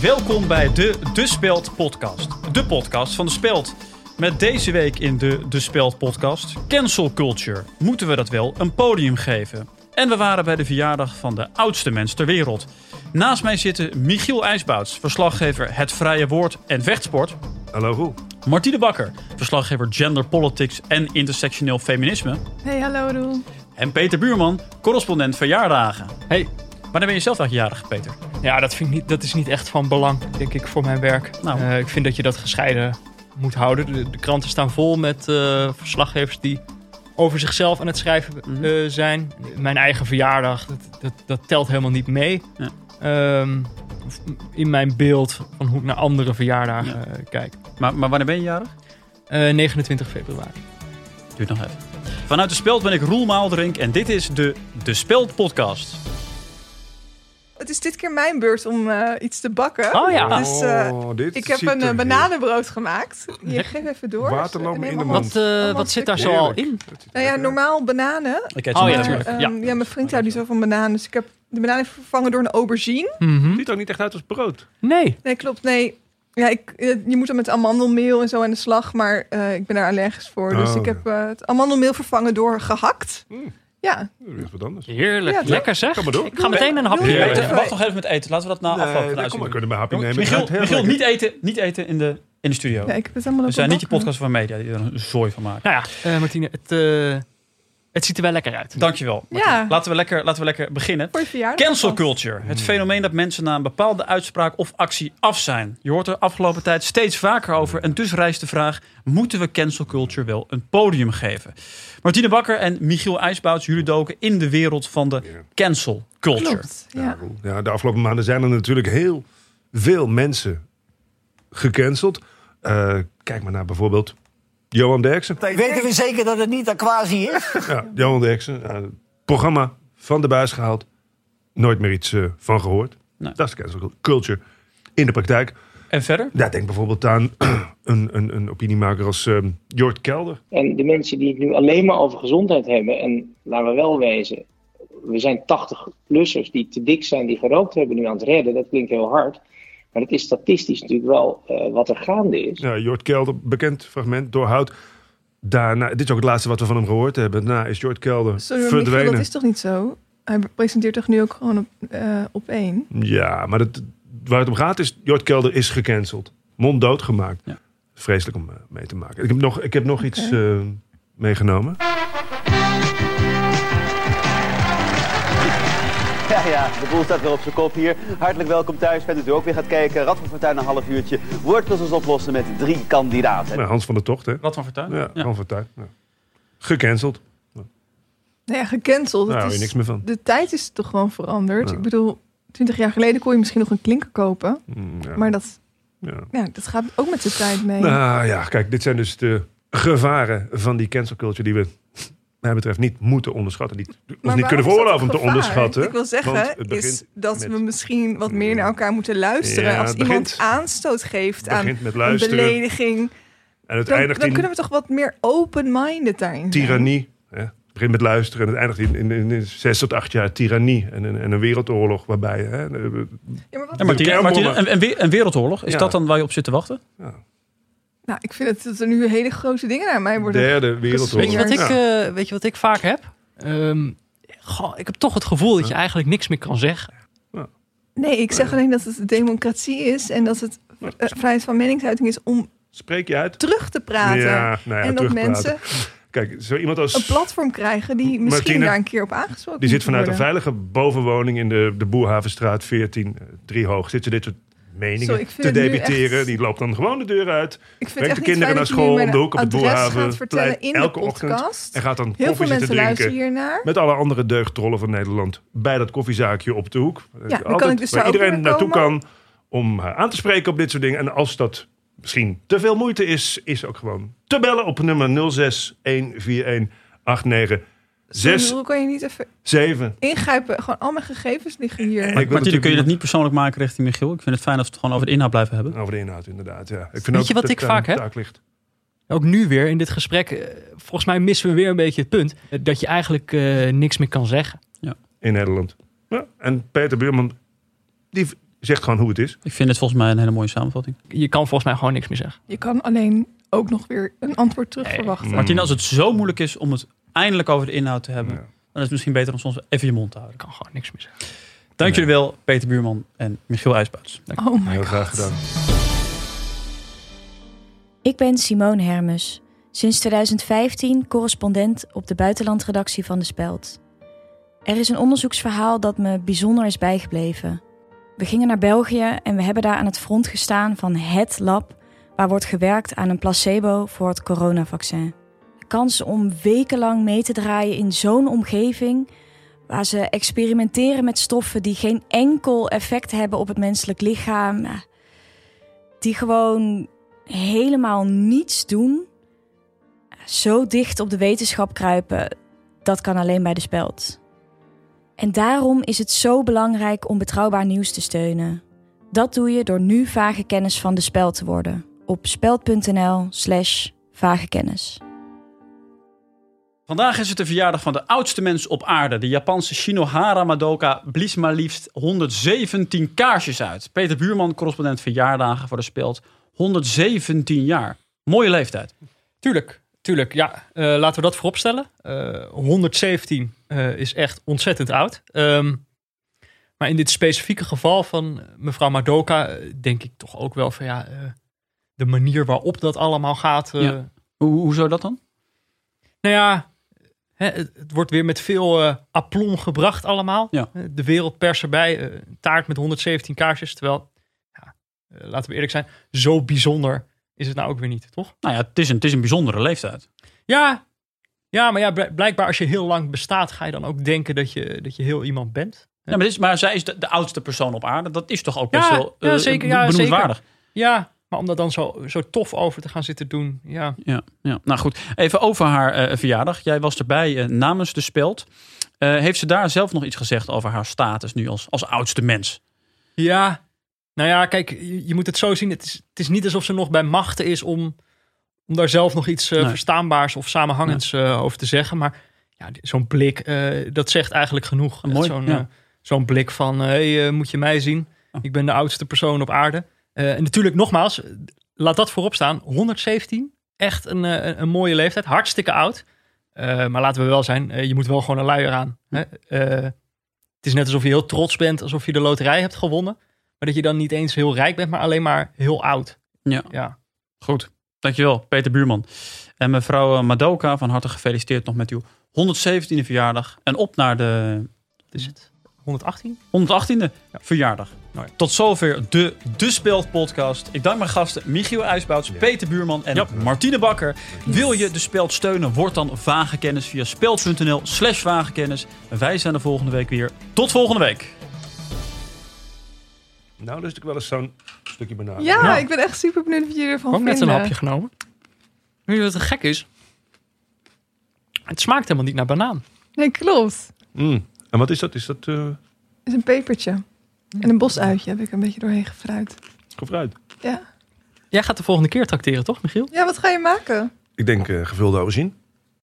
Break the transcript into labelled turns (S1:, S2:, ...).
S1: Welkom bij de De Speld podcast. De podcast van De Speld. Met deze week in de De Speld podcast Cancel Culture. Moeten we dat wel een podium geven? En we waren bij de verjaardag van de oudste mens ter wereld. Naast mij zitten Michiel IJsbouts, verslaggever Het Vrije Woord en Vechtsport.
S2: Hallo Oh, hoe?
S1: Martine Bakker, verslaggever Gender Politics en Intersectioneel Feminisme.
S3: Hey, hallo Roel.
S1: En Peter Buurman, correspondent verjaardagen.
S4: Hey.
S1: Wanneer ben je zelf eigenlijk jarig, Peter?
S4: Ja, dat, vind ik niet, dat is niet echt van belang, denk ik, voor mijn werk.
S1: Nou.
S4: Eh, ik vind dat je dat gescheiden moet houden. De, de kranten staan vol met eh, verslaggevers die over zichzelf aan het schrijven
S1: Mhm.
S4: eh, zijn. Mijn eigen verjaardag, dat, dat, dat telt helemaal niet mee.
S1: Ja.
S4: Ehm, of in mijn beeld van hoe ik naar andere verjaardagen eh, kijk.
S1: Maar, maar wanneer ben je jarig?
S4: Eh, 29 februari.
S1: Duurt nog even. Vanuit de Speld ben ik Roel Maaldrink en dit is de De Speld podcast.
S3: Het is dit keer mijn beurt om eh, iets te bakken.
S4: Oh ja.
S3: Dus eh,
S2: Oh, dit
S3: ik heb
S2: Ah, ziet
S3: een
S2: er
S3: eh,
S2: heel-
S3: bananenbrood gemaakt. Hier, geef even door.
S2: Waterloop me in de
S3: Neem
S2: mond.
S3: allemaal-
S4: Wat, eh, wat zit daar zo al in?
S2: Dat ziet er
S3: Nou ja,
S2: lekker uit.
S3: normaal bananen.
S1: Ik eet
S4: Oh,
S1: zo
S4: ja,
S3: Maar,
S1: meteen.
S4: tuurlijk.
S3: ehm,
S4: Ja.
S3: ja, mijn vriend houdt niet zo van bananen. Dus ik heb de bananen vervangen door een aubergine.
S4: Mhm.
S2: Ziet er ook niet echt uit als brood.
S4: Nee.
S3: Nee, klopt. Nee. Ja, ik, eh, je moet hem met amandelmeel en zo aan de slag. Maar eh, ik ben daar allergisch voor. Dus
S2: Oh,
S3: ik
S2: ja.
S3: heb eh, het amandelmeel vervangen door gehakt.
S2: Mm.
S3: Ja,
S2: Dat is wat anders.
S4: Heerlijk.
S3: Ja, dat-
S4: Lekker zeg.
S2: Kom maar door.
S4: Ik ga meteen een hapje
S3: Doe
S1: Peter,
S3: je-
S4: eten.
S3: Ja.
S1: wacht nog even met eten. Laten we dat
S3: Nou,
S1: na afloop gaan
S2: nee, kom, we
S1: uitzoeken.
S2: kunnen mijn
S3: Oh,
S2: hapje nemen.
S1: Michiel,
S2: Het ruikt heel
S1: Michiel,
S2: lekker.
S1: niet eten, niet eten in de, in de studio.
S3: ja, ik heb het allemaal
S1: Oh. We
S3: op
S1: zijn
S3: een
S1: niet je
S3: bak. eh,
S1: podcast van media die er een zooi van maken.
S4: Nou ja, eh, Martine, het, eh, het ziet er wel lekker uit.
S1: Dankjewel. Martijn.
S3: Ja.
S1: Laten, we lekker, laten we lekker beginnen.
S3: Voor je verjaardag.
S1: Cancel culture. Het fenomeen dat mensen na een bepaalde uitspraak of actie af zijn. Je hoort er afgelopen tijd steeds vaker over. En dus rijst de vraag: moeten we cancel culture wel een podium geven? Martine Bakker en Michiel IJsbouts, jullie doken in de wereld van de cancel culture.
S3: Klopt.
S2: Ja,
S3: Ja.
S2: Roel. Nou, ja, de afgelopen maanden zijn er natuurlijk heel veel mensen gecanceld. Eh, kijk maar naar bijvoorbeeld Johan Derksen.
S5: Weten we zeker dat het niet een quasi is?
S2: Ja, Johan Derksen, eh, programma van de buis gehaald. Nooit meer iets eh, van gehoord.
S1: Nee.
S2: Dat is cancel culture in de praktijk.
S1: En verder?
S2: Ja, denk bijvoorbeeld aan een, een, een opiniemaker als ehm Jort Kelder.
S6: En de mensen die het nu alleen maar over gezondheid hebben, en laten we wel wezen, we zijn 80-plussers die te dik zijn, die gerookt hebben, nu aan het redden. Dat klinkt heel hard. Maar dat is statistisch natuurlijk wel eh, wat er gaande is.
S2: Ja, Jort Kelder, bekend fragment, doorhout. Daarna, dit is ook het laatste wat we van hem gehoord hebben. Daarna is Jort Kelder
S3: Sorry, maar Michiel,
S2: verdwenen.
S3: dat is toch niet zo? Hij presenteert toch nu ook gewoon op, eh, op één?
S2: Ja, maar dat, waar het om gaat is, Jort Kelder is gecanceld. Monddood gemaakt.
S1: Ja.
S2: Vreselijk om eh, mee te maken. Ik heb nog, ik heb nog iets
S3: Oké.
S2: eh, meegenomen.
S7: Ja, ja, de boel staat weer op zijn kop hier. Hartelijk welkom thuis. Fijn dat u ook weer gaat kijken. Rad van Fortuin een half uurtje. Woordpuzzels oplossen met drie kandidaten.
S2: Nou, Hans van der Tocht, hè?
S1: Wat van vertuin?
S2: Ja, Hans van Tuin. Ja. Gecanceld.
S3: Nou ja, gecanceld.
S2: Daar
S3: Dat
S2: hou je
S3: is,
S2: niks meer van.
S3: de tijd is toch gewoon veranderd.
S2: Ja.
S3: Ik bedoel, twintig jaar geleden kon je misschien nog een klinker kopen.
S2: Mm, ja.
S3: Maar dat,
S2: Ja.
S3: ja, dat gaat ook met de tijd mee.
S2: Nou ja, kijk, dit zijn dus de gevaren van die cancel culture die we, mij betreft, niet moeten onderschatten. Die, ons
S3: Maar
S2: niet kunnen
S3: waarom is dat
S2: veroorloven om
S3: een
S2: te
S3: gevaar?
S2: onderschatten.
S3: Ik wil
S2: want
S3: zeggen,
S2: het begint
S3: is dat
S2: met- Mm.
S3: we misschien wat meer naar elkaar moeten luisteren.
S2: Ja,
S3: Als
S2: het
S3: iemand
S2: begint-
S3: aanstoot geeft
S2: Het
S3: aan
S2: begint met
S3: een
S2: luisteren
S3: belediging,
S2: en het
S3: dan,
S2: eindigt
S3: dan
S2: in
S3: kunnen we toch wat meer open-minded daarin zijn?
S2: tirannie. hè. Het begint met luisteren en het eindigt in, in, in zes tot acht jaar tirannie en, een- en een wereldoorlog waarbij... Hè, de-
S3: Ja, maar wat-
S1: Ja, Martine,
S2: De
S1: Martine,
S2: kernbommen.
S1: een, een we- een wereldoorlog, is
S2: Ja.
S1: dat dan waar je op zit te wachten?
S3: nou, ik vind het, dat er nu hele grote dingen naar mij
S2: de
S3: worden
S2: derde wereldoorlog.
S4: Weet je, wat ik,
S2: Ja.
S4: eh, weet je wat ik vaak heb? Ehm, goh, ik heb toch het gevoel dat je eigenlijk niks meer kan zeggen.
S3: Nee, ik zeg alleen dat het democratie is en dat het eh, vrijheid van meningsuiting is om
S2: Spreek je uit?
S3: terug te praten.
S2: Ja, nou ja,
S3: en dat
S2: terugpraten.
S3: mensen
S2: Kijk, zo iemand
S3: een
S2: als...
S3: platform krijgen die misschien
S2: Martine,
S3: daar een keer op aangesproken
S2: Die zit
S3: moet
S2: vanuit een
S3: worden.
S2: veilige bovenwoning in de, de Boerhavenstraat 14, eh, drie hoog. Zit ze dit soort
S3: Zo, ik
S2: meningen
S3: vind
S2: te
S3: het nu
S2: debiteren.
S3: echt-
S2: Die loopt dan gewoon de deur uit.
S3: Ik vind
S2: Brengt
S3: het
S2: de
S3: echt niet
S2: kinderen
S3: fijn
S2: naar
S3: dat je
S2: school
S3: nu
S2: om de
S3: mijn
S2: hoek op het
S3: adres
S2: Boerhaven.
S3: gaat vertellen in de
S2: elke ochtend.
S3: podcast.
S2: En gaat dan
S3: Heel veel
S2: koffie
S3: mensen
S2: zitten drinken.
S3: luisteren hiernaar.
S2: Met alle andere deugdtrollen van Nederland. Bij dat koffiezaakje op de hoek. Eh,
S3: dan kan ik dus
S2: waar
S3: daar ook
S2: iedereen
S3: weer
S2: naartoe
S3: komen.
S2: kan om haar aan te spreken op dit soort dingen. En als dat misschien te veel moeite is, is ook gewoon te bellen op nummer 06 141 89 6
S3: Hoe kan je niet even
S2: 7.
S3: ingrijpen? Gewoon al mijn gegevens liggen hier.
S2: Maar- Ik wil
S1: Martine, kun je dat
S2: natuurlijk-
S1: niet persoonlijk maken richting Michiel? Ik vind het fijn als we het gewoon over de inhoud blijven hebben.
S2: Over Nou, de inhoud, inderdaad. Ja. Ik vind
S4: Weet
S2: ook
S4: je wat
S2: dat
S4: ik
S2: daar
S4: vaak
S2: een
S4: heb?
S2: taak ligt.
S4: Ook nu weer in dit gesprek, eh, volgens mij missen we weer een beetje het punt eh, dat je eigenlijk eh, niks meer kan zeggen.
S2: in Nederland. Ja. En Peter Buurman, die v- zegt gewoon hoe het is.
S1: Ik vind het volgens mij een hele mooie samenvatting.
S2: Mm.
S4: Je kan volgens mij gewoon niks meer zeggen.
S3: Je kan alleen ook nog weer een antwoord terug
S4: Nee.
S3: verwachten.
S1: Martien, als het zo moeilijk is om het eindelijk over de inhoud te hebben,
S2: Ja.
S1: dan is het misschien beter om soms even je mond te
S4: Je
S1: houden.
S4: kan gewoon niks meer zeggen.
S1: Dank jullie wel, Peter Buurman en Michiel IJsbuits.
S3: Oh my
S2: Heel graag
S3: god.
S2: gedaan.
S8: Ik ben Simone Hermes, sinds 2015 correspondent op de buitenlandredactie van De Speld. Er is een onderzoeksverhaal dat me bijzonder is bijgebleven. We gingen naar België en we hebben daar aan het front gestaan van HET lab, waar wordt gewerkt aan een placebo voor het coronavaccin. De kans om wekenlang mee te draaien in zo'n omgeving, waar ze experimenteren met stoffen die geen enkel effect hebben op het menselijk lichaam, ja, die gewoon helemaal niets doen, zo dicht op de wetenschap kruipen, dat kan alleen bij de speld. En daarom is het zo belangrijk om betrouwbaar nieuws te steunen. Dat doe je door nu vage kennis van de speld te worden. Op speld.nl/slash vage kennis.
S1: Vandaag is het de verjaardag van de oudste mens op aarde. De Japanse Shinohara Madoka blies maar liefst 117 kaarsjes uit. Peter Buurman, correspondent verjaardagen voor de Speld. 117 jaar. Mooie leeftijd.
S4: Tuurlijk, tuurlijk. Ja, eh, laten we dat vooropstellen. Eh 117 eh, is echt ontzettend oud. Ehm, maar in dit specifieke geval van mevrouw Madoka eh, denk ik toch ook wel van ja, eh, de manier waarop dat allemaal gaat. eh,
S1: Ja. Hoe, hoezo dat dan?
S4: Nou ja, hè, het, het wordt weer met veel eh aplomb gebracht allemaal.
S1: Ja.
S4: Eh, De wereldpers erbij, eh, een taart met 117 kaarsjes. Terwijl, ja, eh, laten we eerlijk zijn, zo bijzonder is het nou ook weer niet, toch?
S1: Nou ja, het is een, het is een bijzondere leeftijd.
S4: Ja, ja maar ja, bl- blijkbaar als je heel lang bestaat, ga je dan ook denken dat je, dat je heel iemand bent.
S1: Ja, maar, dit is, maar zij is de, de oudste persoon op aarde. Dat is toch ook
S4: Ja,
S1: best wel
S4: ja,
S1: eh,
S4: zeker, ja,
S1: benoemdwaardig.
S4: Ja, maar om dat dan zo, zo tof over te gaan zitten doen, ja.
S1: Ja, ja, nou goed. Even over haar eh, verjaardag. Jij was erbij eh, namens de Speld. Eh, heeft ze daar zelf nog iets gezegd over haar status nu als, als oudste mens?
S4: Ja, nou ja, kijk, je je moet het zo zien. Het is, het is niet alsof ze nog bij machten is om, om daar zelf nog iets eh,
S1: Nee.
S4: verstaanbaars of samenhangends eh, over te zeggen. Maar ja, d- zo'n blik, eh, dat zegt eigenlijk genoeg.
S1: Ah, Mooi,
S4: Zo'n
S1: ja. Oh.
S4: eh, zo'n blik van, hé, hey, eh, moet je mij zien? Ik ben de oudste persoon op aarde. Eh, en natuurlijk nogmaals, eh, laat dat voorop staan. 117, echt een, eh, een- een mooie leeftijd. Hartstikke oud. Eh, maar laten we wel zijn, eh, je moet wel gewoon een luier aan. Hè? Eh, het is net alsof je heel trots bent, alsof je de loterij hebt gewonnen. Maar dat je dan niet eens heel rijk bent, maar alleen maar heel oud.
S1: Ja.
S4: ja.
S1: Goed, dankjewel Peter Buurman. En mevrouw eh, Madoka, van harte gefeliciteerd nog met uw 117e verjaardag. En op naar de
S4: Wat is het? 118?
S1: 118e verjaardag.
S4: Nou ja.
S1: Tot zover de De Speld podcast. Ik dank mijn gasten Michiel IJsbouts, Peter Buurman en Martine Bakker. Wil je De Speld steunen? Word dan Vage Kennis via speld.nl slash vagekennis. En wij zijn er volgende week weer. Tot volgende week.
S2: Nou lust ik wel eens zo'n stukje banaan.
S3: Ja, ik ben echt super benieuwd wat jullie ervan
S4: Ook net
S3: vinden.
S4: een hapje genomen. Weet je wat het gek is? Het smaakt helemaal niet naar banaan.
S3: Nee, klopt.
S2: Mm. En wat is dat? Is dat eh
S3: is een pepertje. En een bosuitje heb ik een beetje doorheen gefruit.
S2: gefruit?
S3: Ja.
S4: Jij gaat de volgende keer tracteren, toch, Michiel?
S3: ja, wat ga je maken?
S2: Ik denk eh, gevulde aubergine.